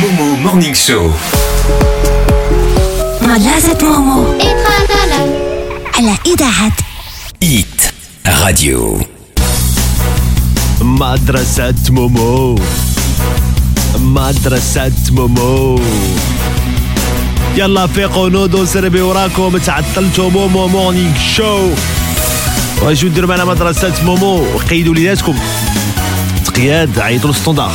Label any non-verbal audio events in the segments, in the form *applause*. Momo Morning Show. مدرسة مومو على إذاعة Hit Radio. مدرسة مومو مدرسة مومو يلا فيقوا نودو سربي وراكم تعطلتوا مومو مورنينغ شو واجيو ديروا معنا مدرسة مومو قيدوا ليداتكم تقياد عيطوا الستوندار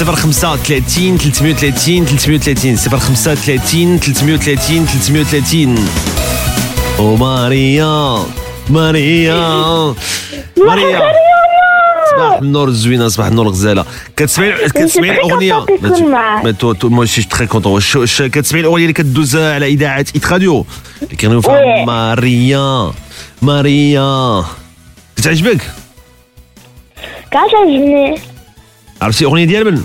05 30 330 330 05 30 330 330 وماريا ماريا ماريا صباح النور الزوينه صباح النور غزاله كتسمعي كتسمعي très الاغنيه contente ما d'être ت- معاك. ما تو- تو- moi, je suis très content. واش واش كتسمعي الاغنيه اللي كدوز على اذاعه ايت راديو اللي كيغنيو فيها وي. ماريا ماريا كتعجبك كاع تعجبني عرفتي الاغنيه ديال من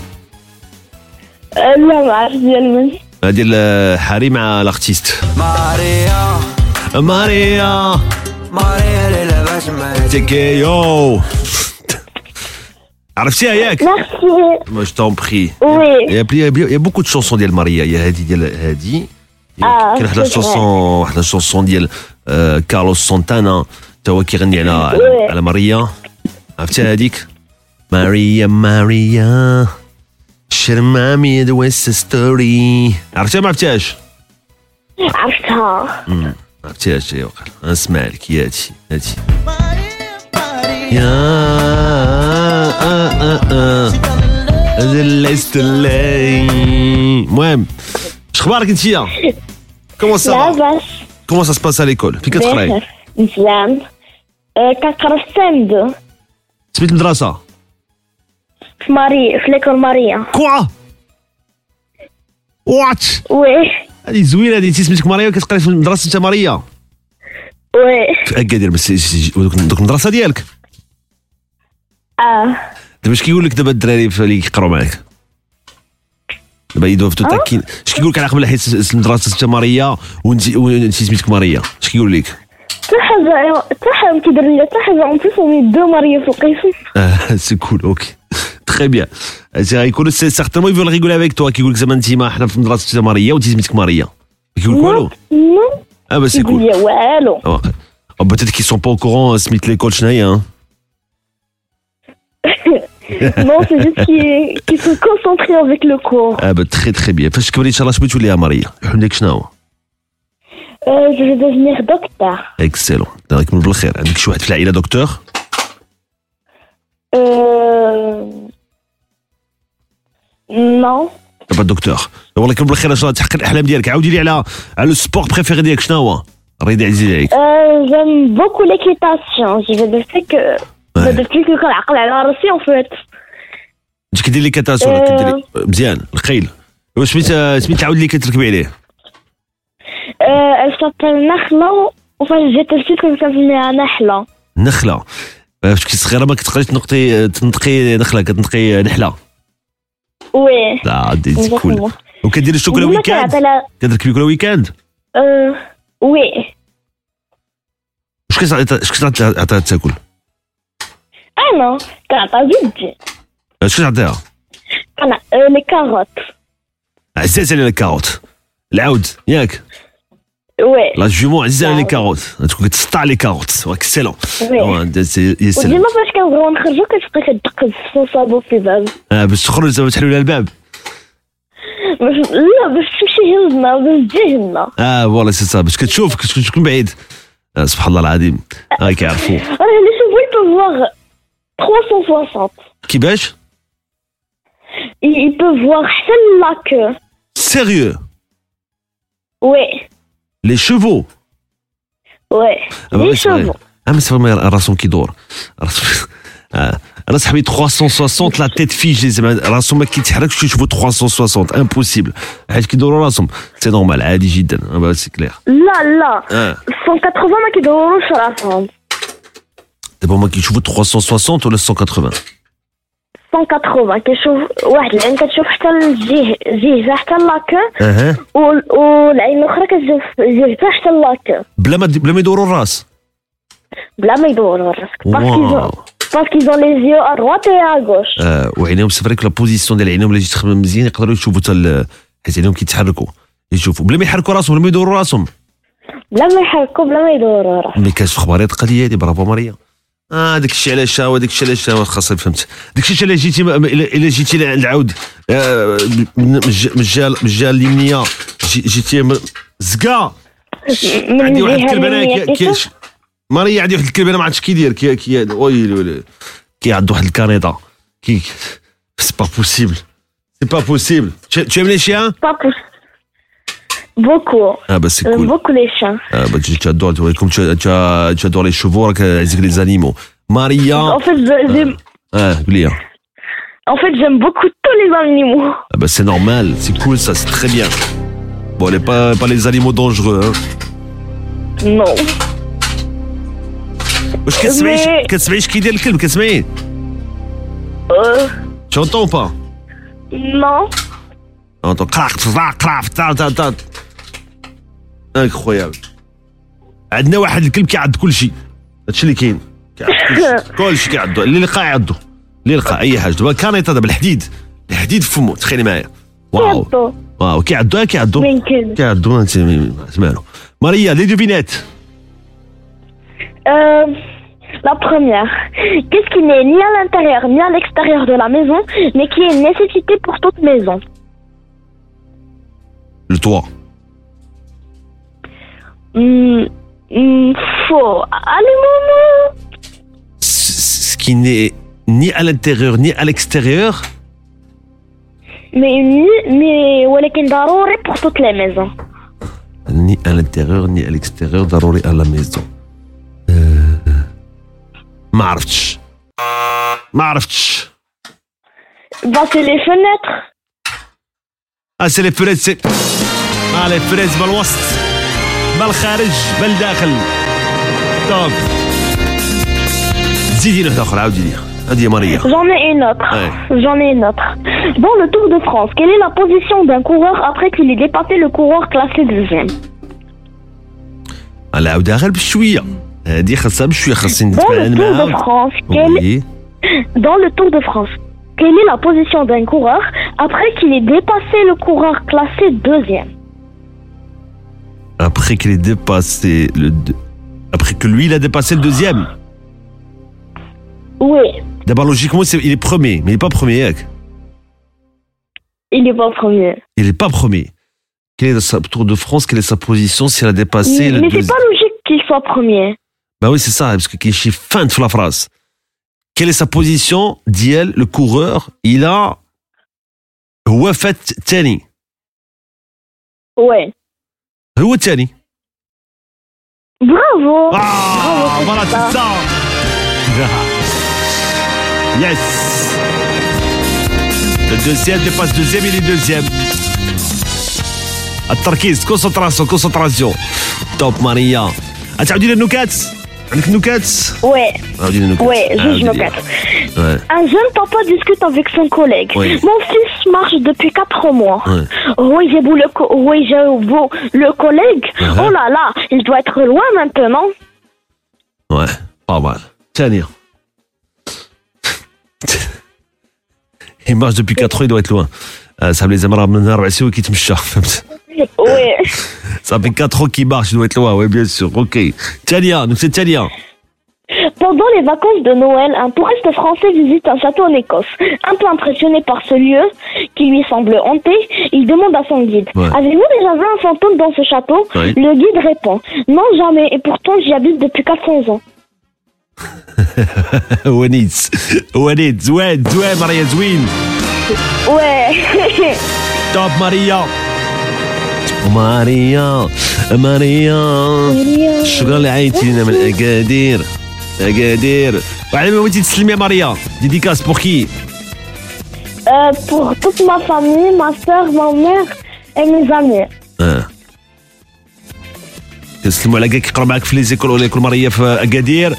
لا ما عرفت ديال من هذه ديال حري مع لارتيست ماريا ماريا ماريا ليلة باش ماريا تيكيو عرفتيها ياك ميرسي ما جو تون بري وي. يا بلي يا بوكو دو شونسون ديال ماريا يا هادي ديال هادي آه، كاين واحد سي الشونسون واحد الشونسون ديال آه، كارلوس سونتانا تا هو كيغني على وي. على- على ماريا عرفتي هاديك ماريا ماريا شرمامي دويس ستوري عرفتيها ما عرفتيهاش عرفتها عرفتي هادشي وقال نسمع لك يا هادشي هادشي يا لست اللي المهم اش اخبارك انت كومون لا سا باس كومون سا سباس ا ليكول فين كتقراي بخير. مزيان أه، كنقرا في ساندو سميت المدرسه في ماري في ليكول ماريا كوعه وات وي هذه زوينه هذه انت سميتك ماريا وكتقراي في المدرسه انت ماريا وي في اكادير بس دوك المدرسه ديالك اه دابا اش كيقول لك دابا الدراري في- اللي كيقراو معاك دابا يدوف تو تاكين اش كيقول لك على قبل حيت س- المدرسه سميتها ماريا وانت وانت سميتك ماريا اش كيقول لك تحب تحب كيدير لي تحب اون بليس يدو ماريا في القسم آه *laughs* سي كول اوكي تخي بيان سي غيكونوا سي سارتينمون يفول ريغول افيك تو كيقول لك زعما انت ما حنا في المدرسه سميتها ماريا وانت سميتك ماريا ما كيقول لك والو نو اه بس سي كول يديا والو آه، واقع. آه، peut-être qu'ils sont pas au courant سميت ليكول شنو هي hein. نو سي جوست كي كي سو كونسونتري افيك لو كور اه تخي تخي بيان فاش تكبري ان شاء الله شنو تولي يا ماريا يحون لك شنو هو أه، جو في ديفينيغ دكتور اكسلون الله يكمل بالخير عندك شي واحد في العائله دكتور أه، نو با دكتور والله يكون بالخير ان شاء الله تحقق الاحلام ديالك عاودي لي على على السبور بريفيري ديالك شنو هو ريدي عزيز عليك Euh, j'aime beaucoup l'équitation. Je vais depuis que. Ouais. Depuis que quand العقل على راسي en fait. انت كدير لي كاتاسون آه. كدير مزيان الخيل واش سميت سميت العود اللي كتركبي عليه Euh, elle s'appelle Nahla. Enfin, j'étais petite quand je m'appelais Nahla. نخله آه، فاش كنت صغيره ما كتقدريش تنقطي تنطقي نخله كتنطقي نحله Oui. لا دي كول exactement. وكديري شو كل Dis-moi qu'elle ويكاند appelle, كتركبي كل ويكاند Euh, oui. واش كتعطي اش كتعطي عطيها تاكل Ah non, quand pas vite. اش كتعطيها On a euh, les carottes. عزاز عليها الكاروت العود ياك Ouais. لا جومون عزاز عليها العود. الكاروت تكون كتسطع على الكاروت اكسلون وي. يا سلام وديما فاش كنبغيو نخرجو كتبقى كدق الصوصابو في باب آه باش تخرج زعما تحلوا لها الباب باش لا باش تمشي هلنا باش تجي هلنا اه فوالا سي سا باش كتشوف كتكون شكون بعيد آه سبحان الله العظيم اه كيعرفوا انا اللي شوفو يتوفر 360 كيفاش Ils ils peuvent voir حتى لا queue. سيريو Ouais, لي شوفو ouais. Les آه، ماشي chevaux. غير. اه ما تفهم راسهم كيدور *laughs* راسهم- آه، انا صاحبي 360 لا تيت فيجي زعما راسهم ما كيتحركش يشوفوا 360 امبوسيبل حيت كيدوروا راسهم سي نورمال عادي جدا آه، سي كلير لا لا اه 180 ما كيدوروش راسهم دابا هما كيشوفوا 360 ولا 180 180 كيشوف واحد العين كتشوف حتى الجهه جهه حتى لاكو اها والعين الاخرى كتشوف جهتها حتى لاكو بلا ما بلا ما يدوروا الراس بلا ما يدوروا راسك واو Parce qu'ils ont les yeux à droite et à gauche. آه وعينيهم سفريك لا بوزيسيون ديال عينيهم اللي جيت تخمم مزيان يقدروا يشوفوا حتى ال- حيت عينيهم كيتحركوا يشوفوا بلا ما يحركوا راسهم بلا ما يدوروا راسهم بلا ما يحركوا بلا ما يدوروا راه ملي كانت في اخباريات قليله هذه برافو ماريا اه داك الشيء علاش هو داك الشيء علاش هو خاصك فهمت داك الشيء علاش جيتي م- م- الا إلا جيتي العود آه من من الج- من الجهه من الجهه اليمنيه جي- جيتي من- زكا من عندي واحد الجهة الكلب انا اليمنية كي- كي- كيفاه؟ ش- ماريا عندي واحد الكلب انا ما عرفتش كي داير كي كي ويلي ويلي كي عنده واحد الكنيطه كي سي با بوسيبل سي با بوسيبل tu aimes les chiens Pas pour- Beaucoup. اه بس Euh, كول Beaucoup les chiens. bah, Ah, bah, tu, tu adores, tu vois, comme tu, tu as- tu adores les chevaux, là, que- ainsi que les animaux. Maria, En fait, je- j'aime, ah, Glia. en fait, j'aime beaucoup tous les animaux. Ah, bah, c'est normal, c'est cool, ça, c'est très bien. Bon, les, pas, pas les animaux dangereux. Hein. Non. Wesh, qu'est-ce que Mais- c'est Qu'est-ce que c'est Qu'est-ce qu'il y a, le club Qu'est-ce que c'est Euh, Tu entends ou pas non. Entends. Clac, clac, clac, ta, ta, ta. Incroyable. عندنا واحد الكلب كيعض كل شيء هادشي اللي كاين كيعض كل شيء كل شيء كيعضو اللي لقى يعضو اللي لقى اي حاجه دابا كانيطا دابا الحديد الحديد في فمو تخيلي معايا واو Bientôt. واو كيعدو كيعدو ممكن. كيعدو انت مالو ماريا لي دوفينات Euh, la première. Qu'est-ce qui n'est ni à l'intérieur ni à l'extérieur de la maison, mais qui est une nécessité pour toute maison لو توا Hmm, hmm, Faux. À le moment. ce qui n'est ni à l'intérieur ni à l'extérieur Mais une mais ولكن ضروري pour toutes les maisons. ni à l'intérieur ni à l'extérieur ضروري à la maison Euh, ما عرفتش ما عرفتش Bah, c'est les fenêtres. اه سي لي فريز سي اه لي فريز بالوسط بالخارج بالداخل طوب زيدي واحد اخر عاودي لي هذه هي ماريا J'en ai une autre. Ouais. J'en ai une autre. Dans le Tour de France, quelle est la position d'un coureur après qu'il ait dépassé le coureur classé deuxième على عاودها غير بشويه هذه خاصها بشويه خاصني Dans نتفاعل le Tour de معاها France, quelle وي dans le Tour de France, quelle est la position d'un coureur après qu'il ait dépassé le coureur classé deuxième après qu'il ait dépassé le deux- après que lui il a dépassé le deuxième Oui, d'abord logiquement c'est- il est premier mais il est pas premier ياك il est pas premier. il est pas premier quel est sa Tour de France quelle est sa position s'il a dépassé Mais, le mais c'est deuxième pas logique qu'il soit premier. bah oui c'est ça parce que je suis fin de la phrase quelle est sa position d'IL le coureur il a هو فات الثاني Ouais. هو الثاني Bravo. Ah, Bravo, voilà, c'est ça. c'est ça. *laughs* Yes. Le deuxième dépasse deuxième, il est deuxième. التركيز كونسنتراسيون كونسنتراسيون توب ماريا غتعاودي لنا النكات عندك النكات Ouais, عاودي لنا النكات ouais, عاودي juge لنا. nos quatre. Ouais. Un jeune papa discute avec son collègue. Oui. Mon fils marche depuis quatre mois. Ouais. Oui, j'ai beau le, co- oui, j'ai beau le collègue. Uh-huh. Oh là là, il doit être loin maintenant. Ouais, pas mal. Tenir. *laughs* Il marche depuis 4 ans, il doit être loin. Euh, Ça me les aimera من أربع سنوات كيتمشى فهمت *laughs* Ouais. Ça fait 4 ans qu'il marche, il doit être loin, oui, bien sûr. Ok. Talia, donc c'est *laughs* Talia. Pendant les vacances de Noël, un touriste français visite un château en Écosse. Un peu impressionné par ce lieu qui lui semble hanté, il demande à son guide Ouais. Avez-vous déjà vu un fantôme dans ce château Oui. Le guide répond Non, jamais, et pourtant j'y habite depuis 400 ans. Wanid. Wanid. Zoued. Zoued, Maria Zouin. Ouais. *laughs* Top Maria. ماريا ماريا الشكر اللي عيطينا من اكادير اكادير وعلى ما بغيتي تسلمي يا ماريا ديديكاس بور كي Euh, pour toute ma famille, ma soeur, ma mère et mes amis. اه تسلموا على كاع يقرا معاك في ليزيكول ولا يكون ماريا في اكادير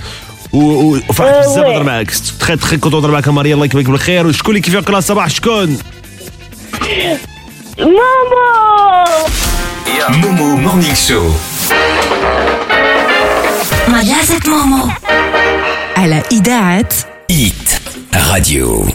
و- و- وفرحت آه، بزاف وي. نهضر معاك تخي تخي كنت نهضر معاك يا ماريا الله يكفيك بالخير وشكون اللي كيفيق لا صباح شكون Maman Momo Morning Show. مدرسة مومو على إذاعة Hit Radio.